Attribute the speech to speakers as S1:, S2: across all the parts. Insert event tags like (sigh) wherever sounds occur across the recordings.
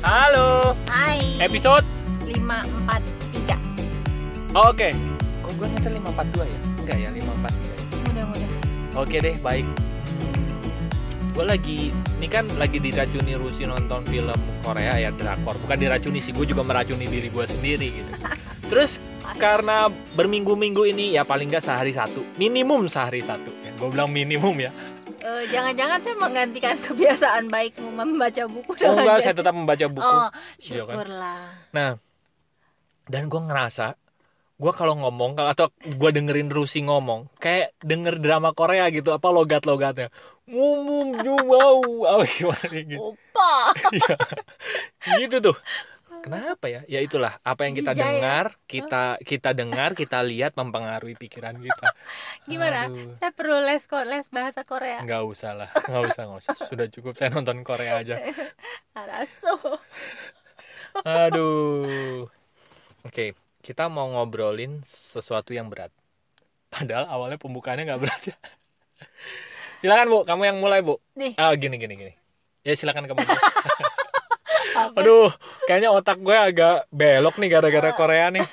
S1: Halo,
S2: Hai.
S1: episode
S2: 543.
S1: Oke Kok gue nyetel 542 ya? Enggak ya, 543 ya
S2: Mudah-mudahan.
S1: Oke deh, baik Gue lagi, ini kan lagi diracuni Rusi nonton film Korea ya, drakor Bukan diracuni sih, gue juga meracuni diri gue sendiri (laughs) gitu Terus karena berminggu-minggu ini ya paling nggak sehari satu Minimum sehari satu ya, Gue bilang minimum ya
S2: Eh, jangan-jangan saya menggantikan (laughs) kebiasaan baikmu membaca buku
S1: Oh
S2: dengan
S1: enggak, saya
S2: dia-
S1: tetap membaca buku Iya
S2: Oh,
S1: kan?
S2: syukurlah.
S1: Nah, dan gue ngerasa gue kalau ngomong kalau- atau gue dengerin Rusi ngomong kayak denger drama Korea gitu apa logat-logatnya mumum jumau (laughs) apa gimana gitu
S2: Opa.
S1: gitu tuh kenapa ya ya itulah apa yang kita
S2: Jijik ya?
S1: dengar kita kita dengar kita lihat mempengaruhi pikiran kita
S2: Gimana?
S1: Aduh.
S2: Saya perlu les ko- les bahasa Korea.
S1: nggak usah lah nggak usah nggak usah sudah cukup saya nonton Korea aja
S2: Araso.
S1: aduh oke kita mau ngobrolin sesuatu yang berat padahal awalnya pembukaannya nggak berat ya silakan bu kamu yang mulai bu
S2: Nih.
S1: ah gini gini gini ya silakan kamu
S2: Apa?
S1: aduh kayaknya otak gue agak belok nih gara-gara Korea nih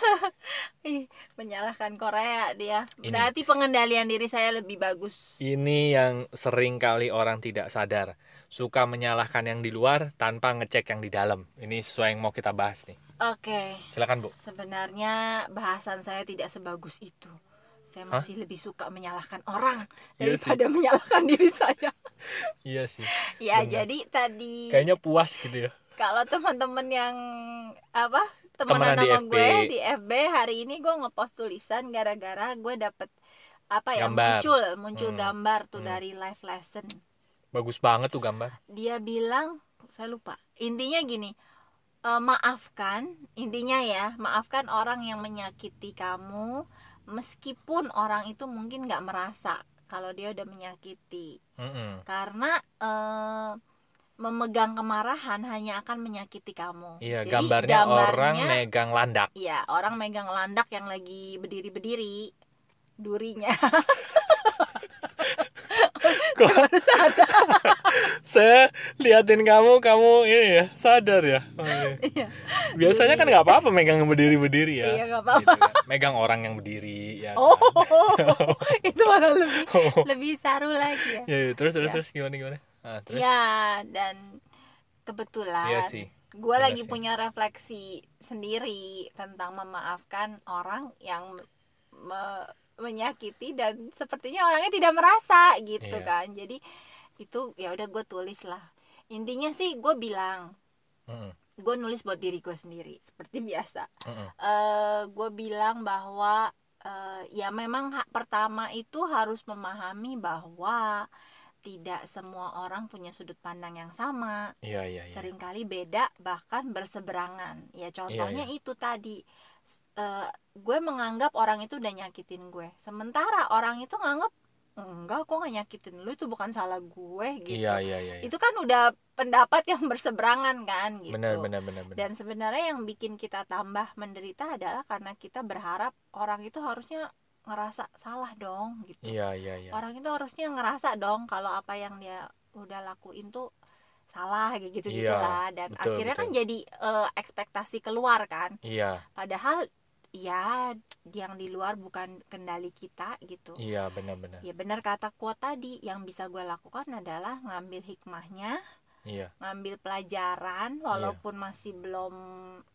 S2: Ih, menyalahkan Korea
S1: Ah.
S2: dia.
S1: Ini. Iya.
S2: Berarti pengendalian diri saya lebih bagus.
S1: ini yang sering kali orang tidak sadar suka menyalahkan yang di luar tanpa ngecek yang di dalam ini sesuai yang mau kita bahas nih
S2: Oke.
S1: silakan bu
S2: Sebenarnya bahasan saya tidak sebagus itu. Saya
S1: Hah?
S2: masih lebih suka menyalahkan orang
S1: Iya sih.
S2: daripada (laughs) menyalahkan diri saya.
S1: iya sih
S2: Ya,
S1: Benar.
S2: jadi tadi
S1: kayaknya puas gitu ya
S2: kalau teman-teman yang apa?
S1: Temenan
S2: Temenan
S1: di
S2: sama
S1: FB.
S2: gue di FB hari ini gue ngepost tulisan gara-gara gue dapet apa ya
S1: Gambar.
S2: muncul muncul
S1: Hmm.
S2: gambar tuh
S1: Hmm.
S2: dari live lesson.
S1: bagus banget tuh gambar
S2: Dia bilang saya lupa. Intinya gini, eh, maafkan intinya ya, maafkan orang yang menyakiti kamu meskipun orang itu mungkin nggak merasa kalau dia udah menyakiti
S1: Mm-mm.
S2: karena eh, memegang kemarahan hanya akan menyakiti kamu.
S1: Iya,
S2: Jadi,
S1: gambarnya, orang
S2: gambarnya-
S1: megang
S2: (laughs)
S1: landak.
S2: Iya, orang megang landak yang lagi berdiri-berdiri durinya.
S1: Kok
S2: Baru sadar.
S1: (laughs) saya liatin kamu, kamu ini ya sadar ya. Oke.
S2: Iya.
S1: Biasanya kan nggak apa-apa megang yang berdiri-berdiri ya.
S2: Iya, nggak apa-apa.
S1: Gitu kan. Megang orang yang berdiri ya. kan. (laughs)
S2: Oh, itu malah lebih lebih saru lagi ya.
S1: Ya, ya, terus terus
S2: Ya.
S1: terus gimana gimana? Ah, terus.
S2: Iya, kan. dan kebetulan
S1: Iya sih.
S2: gue
S1: Benar
S2: lagi
S1: sih.
S2: punya refleksi sendiri tentang memaafkan orang yang me- menyakiti dan sepertinya orangnya tidak merasa gitu
S1: Iya.
S2: kan jadi itu ya udah gue tulis lah intinya sih gue bilang
S1: Mm-mm,
S2: gue nulis buat diri gue sendiri seperti (laughs) biasa
S1: mm-mm.
S2: eh gue bilang bahwa eh, ya memang ha- pertama itu harus memahami bahwa tidak semua orang punya sudut pandang yang sama
S1: Iya iya iya.
S2: seringkali beda bahkan berseberangan ya contohnya
S1: iya.
S2: itu tadi S- eh, gue menganggap orang itu udah nyakitin gue sementara orang itu nganggap enggak kok gak nyakitin lu itu bukan salah gue gitu
S1: Iya iya iya. iya.
S2: itu kan udah pendapat yang (laughs) berseberangan kan gitu
S1: Benar benar benar benar.
S2: dan sebenarnya yang bikin kita tambah menderita adalah karena kita berharap orang itu harusnya ngerasa salah dong gitu
S1: Iya iya iya.
S2: orang itu harusnya ngerasa dong kalau apa yang dia udah lakuin tuh salah kayak gitu gitu
S1: Iya,
S2: lah dan
S1: betul,
S2: akhirnya kan
S1: betul.
S2: jadi eh, ekspektasi keluar kan
S1: Iya
S2: padahal ya yang di luar bukan kendali kita gitu
S1: iya benar benar.
S2: ya benar kata kuat tadi yang bisa gue lakukan adalah ngambil hikmahnya
S1: Iya
S2: ngambil pelajaran walaupun masih belum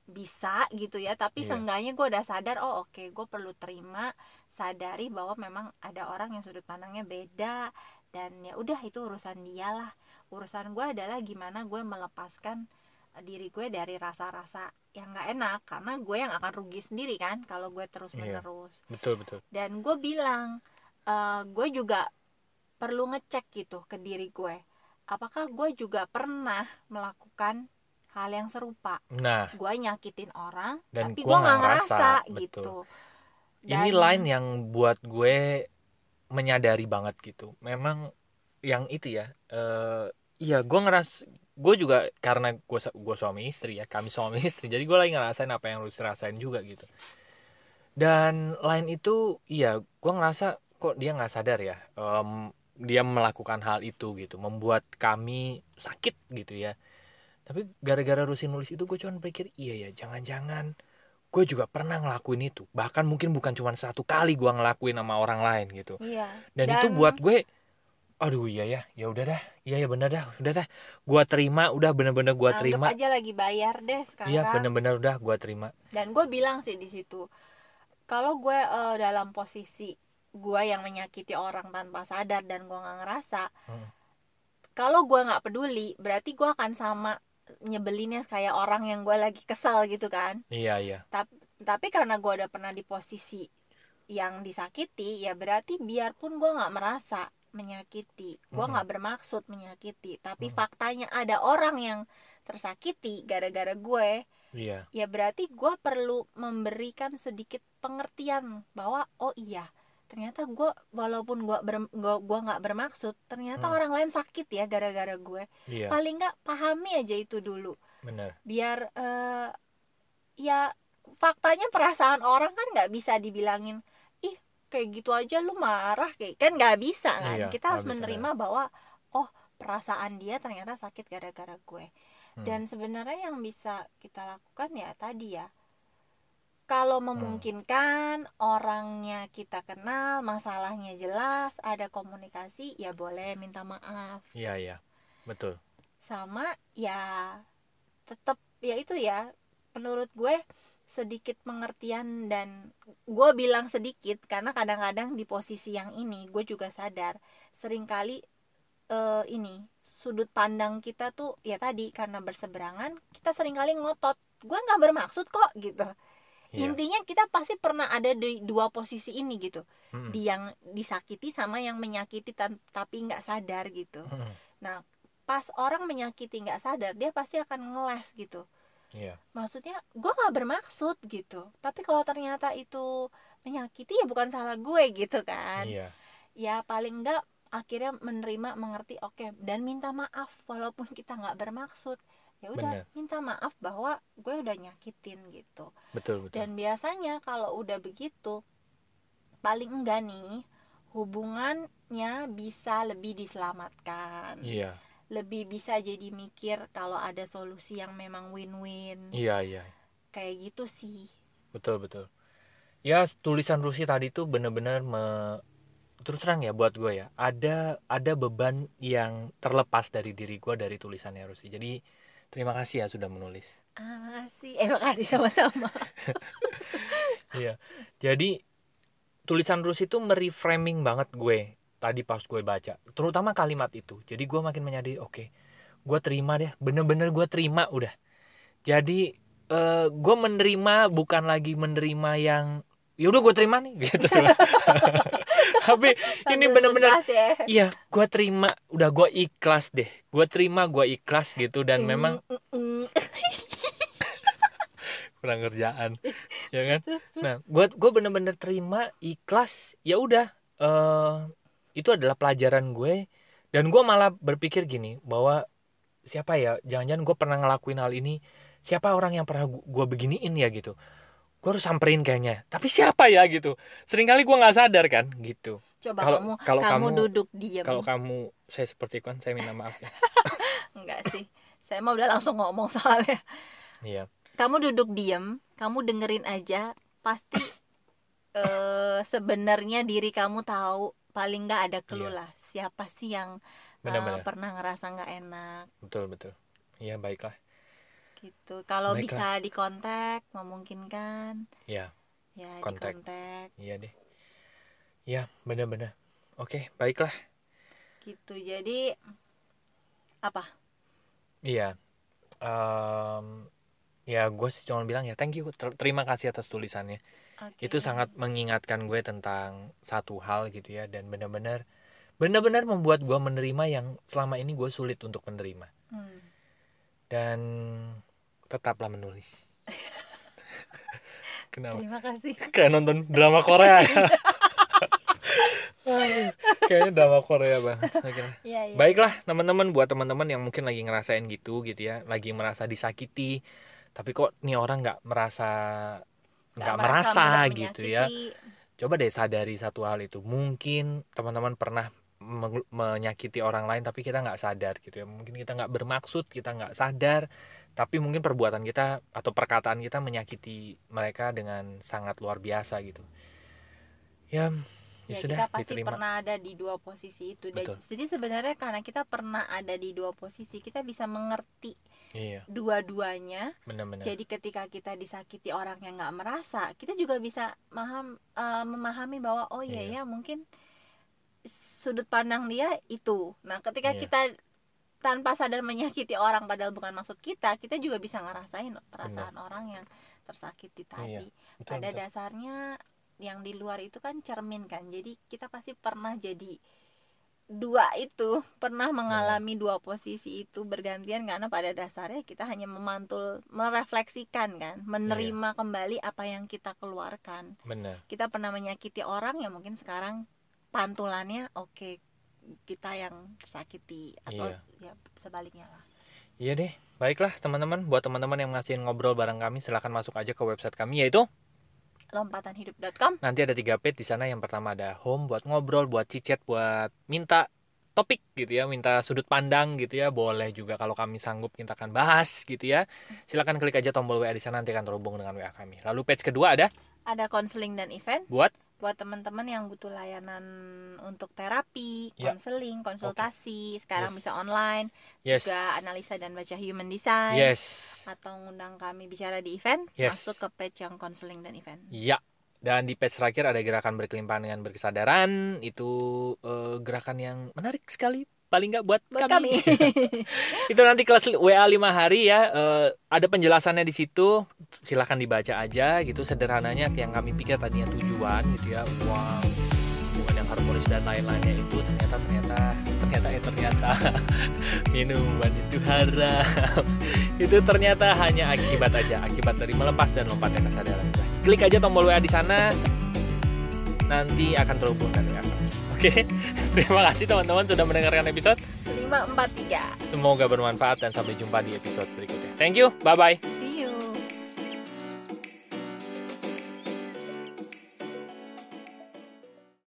S2: bisa gitu ya tapi
S1: Iya.
S2: seenggaknya gue udah sadar oh oke gue perlu terima sadari bahwa memang ada orang yang sudut pandangnya beda dan ya udah itu urusan dia lah urusan gue adalah gimana gue melepaskan eh, diri gue dari rasa-rasa yang nggak enak karena gue yang akan rugi sendiri kan kalau gue terus
S1: Iya.
S2: menerus
S1: betul betul.
S2: dan gue bilang eh, gue juga perlu ngecek gitu ke diri gue apakah gue juga pernah melakukan hal yang serupa
S1: Nah
S2: gue nyakitin orang
S1: Dan
S2: tapi
S1: gua
S2: gue nggak
S1: nggak
S2: ngerasa,
S1: ngerasa,
S2: gitu
S1: ini
S2: Dan-
S1: line yang buat gue menyadari banget gitu memang yang itu ya eh iya gue ngeras gue juga karena gue su- gue suami istri ya kami suami (laughs) istri jadi gue lagi ngerasain apa yang lu rasain juga gitu dan lain itu iya gue ngerasa kok dia nggak sadar ya em, dia melakukan hal itu gitu membuat kami sakit gitu ya tapi gara-gara Rusin nulis itu gue cuman pikir iya ya jangan-jangan gue juga pernah ngelakuin itu bahkan mungkin bukan cuman satu kali gue ngelakuin sama orang lain gitu
S2: iya
S1: dan, itu buat gue aduh iya ya ya udah dah iya ya bener dah udah dah gue terima udah bener-bener gue
S2: anggap
S1: terima
S2: aja lagi bayar deh sekarang
S1: iya bener-bener udah gue terima
S2: dan gue bilang sih di situ kalau gue eh, dalam posisi gue yang menyakiti orang tanpa sadar dan gue nggak ngerasa
S1: Mm.
S2: kalau gue nggak peduli berarti gue akan sama nyebelinnya kayak orang yang gue lagi kesel gitu kan
S1: iya iya
S2: tapi karena gue udah pernah di posisi yang disakiti ya berarti biarpun gue nggak merasa menyakiti gue
S1: Mm.
S2: nggak bermaksud menyakiti tapi
S1: Mm.
S2: faktanya ada orang yang tersakiti gara-gara gue
S1: iya
S2: ya berarti gue perlu memberikan sedikit pengertian bahwa oh iya ternyata gue walaupun gue gue nggak bermaksud ternyata
S1: Hmm.
S2: orang lain sakit ya gara-gara gue
S1: iya
S2: paling nggak pahami aja itu dulu
S1: bener
S2: biar eh, ya faktanya perasaan orang kan nggak bisa dibilangin ih kayak gitu aja lu marah kayak kan nggak bisa kan
S1: Iya, nggak
S2: kita harus
S1: bisa,
S2: menerima bahwa oh perasaan dia ternyata sakit gara-gara gue
S1: Hmm.
S2: dan sebenarnya yang bisa kita lakukan ya tadi ya kalau memungkinkan orangnya kita kenal masalahnya jelas ada komunikasi ya boleh minta maaf
S1: iya iya betul
S2: sama ya tetap ya itu ya menurut gue sedikit pengertian dan gue bilang sedikit karena kadang-kadang di posisi yang ini gue juga sadar seringkali eh, ini sudut pandang kita tuh ya tadi karena berseberangan kita seringkali ngotot gue nggak bermaksud kok gitu
S1: iya
S2: intinya kita pasti pernah ada di dua posisi ini gitu
S1: Mm-mm.
S2: di yang disakiti sama yang menyakiti tan- tapi nggak sadar gitu
S1: Mm-mm.
S2: pas orang menyakiti nggak sadar dia pasti akan ngeles gitu
S1: iya
S2: maksudnya gue nggak bermaksud gitu tapi kalau ternyata itu menyakiti ya bukan salah gue gitu kan
S1: iya
S2: ya paling nggak akhirnya menerima mengerti oke dan minta maaf walaupun kita nggak bermaksud
S1: Bener.
S2: ya udah minta maaf bahwa gue udah nyakitin gitu
S1: betul betul
S2: dan biasanya kalau udah begitu paling enggak nih hubungannya bisa lebih diselamatkan
S1: iya
S2: lebih bisa jadi mikir kalau ada solusi yang memang win-win
S1: iya iya
S2: kayak gitu sih
S1: betul betul ya tulisan Rusi tadi tuh bener-bener me... terus terang ya buat gue ya ada ada beban yang terlepas dari diri gue dari tulisannya Rusi jadi terima kasih ya sudah menulis
S2: ah makasih eh makasih sama-sama
S1: Iya. Jadi tulisan Rus itu mereframing banget gue tadi pas gue baca, terutama kalimat itu. Jadi gue makin menyadari, oke, gue terima deh, bener-bener gue terima udah. Jadi eh, gue menerima bukan lagi menerima yang yaudah gue terima nih (laughs) gitu tuh. Tapi (laughs) ini
S2: Sambil
S1: bener-bener
S2: tuntas ya.
S1: iya, gue terima, udah gue ikhlas deh. Gue terima, gue ikhlas gitu dan
S2: Mm,
S1: memang
S2: mm, mm.
S1: kurang kerjaan. ya kan?
S2: Terus,
S1: (laughs)
S2: terus.
S1: Nah, gue gue bener-bener terima ikhlas. Ya udah, eh, itu adalah pelajaran gue. Dan gue malah berpikir gini bahwa siapa ya? Jangan-jangan gue pernah ngelakuin hal ini. Siapa orang yang pernah gue beginiin ya gitu? Gue harus samperin kayaknya. Tapi siapa ya gitu? Seringkali gue nggak sadar kan gitu.
S2: coba
S1: Kalau-
S2: kamu
S1: kalau
S2: kamu
S1: kamu-
S2: duduk diam
S1: Kalau kamu saya seperti kan saya minta maaf ya.
S2: enggak sih saya mah udah langsung ngomong soalnya
S1: (laughs) Iya.
S2: kamu duduk diam kamu dengerin aja
S1: (laughs)
S2: pasti eh sebenarnya diri kamu tahu paling nggak ada clue
S1: Iya.
S2: lah siapa sih yang eh,
S1: Benar-benar.
S2: pernah ngerasa nggak enak
S1: Betul betul. Iya baiklah.
S2: gitu kalau
S1: Baiklah.
S2: bisa dikontak memungkinkan
S1: Ya.
S2: ya
S1: Kontak.
S2: dikontak
S1: Iya deh. Iya benar-benar. Oke baiklah.
S2: gitu jadi apa
S1: Iya. Em, ya gue sih cuma bilang ya thank you ter- terima kasih atas tulisannya.
S2: Oke.
S1: Itu sangat mengingatkan gue tentang satu hal gitu ya dan benar-benar benar-benar membuat gue menerima yang selama ini gue sulit untuk menerima
S2: Hmm.
S1: dan tetaplah (laughs) menulis. Kenapa?
S2: terima (laughs) kasih
S1: Kayak nonton drama Korea. ya. (laughs)
S2: Iya,
S1: Kayaknya drama Korea bang. Oke lah.
S2: ya, ya.
S1: Baiklah teman-teman buat teman-teman yang mungkin lagi ngerasain gitu gitu ya, lagi merasa disakiti, tapi kok nih orang nggak merasa nggak merasa
S2: nggak
S1: gitu
S2: menyakiti.
S1: ya. Coba deh sadari satu hal itu. Mungkin teman-teman pernah meng- menyakiti orang lain tapi kita nggak sadar gitu ya mungkin kita nggak bermaksud kita nggak sadar tapi mungkin perbuatan kita atau perkataan kita menyakiti mereka dengan sangat luar biasa gitu ya ya,
S2: ya
S1: sudah
S2: kita pasti
S1: diterima
S2: pernah ada di dua posisi itu Dan-
S1: Betul.
S2: jadi sebenarnya karena kita pernah ada di dua posisi kita bisa mengerti
S1: iya
S2: dua-duanya
S1: benar-benar
S2: jadi ketika kita disakiti orang yang nggak merasa kita juga bisa maham eh, memahami bahwa oh iya
S1: Iya.
S2: ya mungkin sudut pandang dia itu nah ketika
S1: Iya.
S2: kita tanpa sadar menyakiti orang padahal bukan maksud kita kita juga bisa ngerasain perasaan orang yang tersakiti
S1: Iya.
S2: tadi
S1: Betul,
S2: pada
S1: betul.
S2: dasarnya yang di luar itu kan cermin kan jadi kita pasti pernah jadi dua itu pernah mengalami dua posisi itu bergantian karena pada dasarnya kita hanya memantul merefleksikan
S1: Iya,
S2: kan menerima kembali apa yang kita keluarkan
S1: benar
S2: kita pernah menyakiti orang ya mungkin sekarang pantulannya oke kita yang sakiti atau ya sebaliknya lah
S1: iya deh baiklah teman-teman buat teman-teman yang masih ngobrol bareng kami silahkan masuk aja ke website kami yaitu
S2: lompatanhidup.com
S1: nanti ada tiga page di sana yang pertama ada home buat ngobrol buat cicet buat minta topik gitu ya minta sudut pandang gitu ya boleh juga kalau kami sanggup kita akan bahas gitu ya silakan klik aja tombol WA di sana nanti akan terhubung dengan WA kami lalu page kedua ada
S2: ada konseling dan event
S1: buat
S2: buat teman-teman yang butuh layanan untuk terapi,
S1: Ya.
S2: konseling, konsultasi, sekarang
S1: Yes.
S2: bisa online,
S1: yes
S2: juga analisa dan baca human design
S1: yes
S2: atau ngundang kami bicara di event,
S1: Yes.
S2: masuk ke page yang konseling dan event.
S1: ya dan di page terakhir ada gerakan berkelimpahan dengan berkesadaran itu eh, gerakan yang menarik sekali paling nggak buat,
S2: Buat
S1: (laughs)
S2: kami.
S1: itu nanti kelas WA 5 hari ya eh, ada penjelasannya di situ silahkan dibaca aja gitu sederhananya yang kami pikir tadinya tujuan gitu ya uang hubungan yang harmonis dan lain-lainnya itu ternyata ternyata ternyata eh ternyata (laughs) minuman itu haram (laughs) itu ternyata hanya akibat aja akibat dari melepas dan lompatnya kesadaran Udah. klik aja tombol WA di sana nanti akan terhubung dengan WA kami. oke (laughs) terima kasih teman-teman sudah mendengarkan episode
S2: 5 4 3.
S1: Semoga bermanfaat dan sampai jumpa di episode berikutnya. Thank you, bye bye.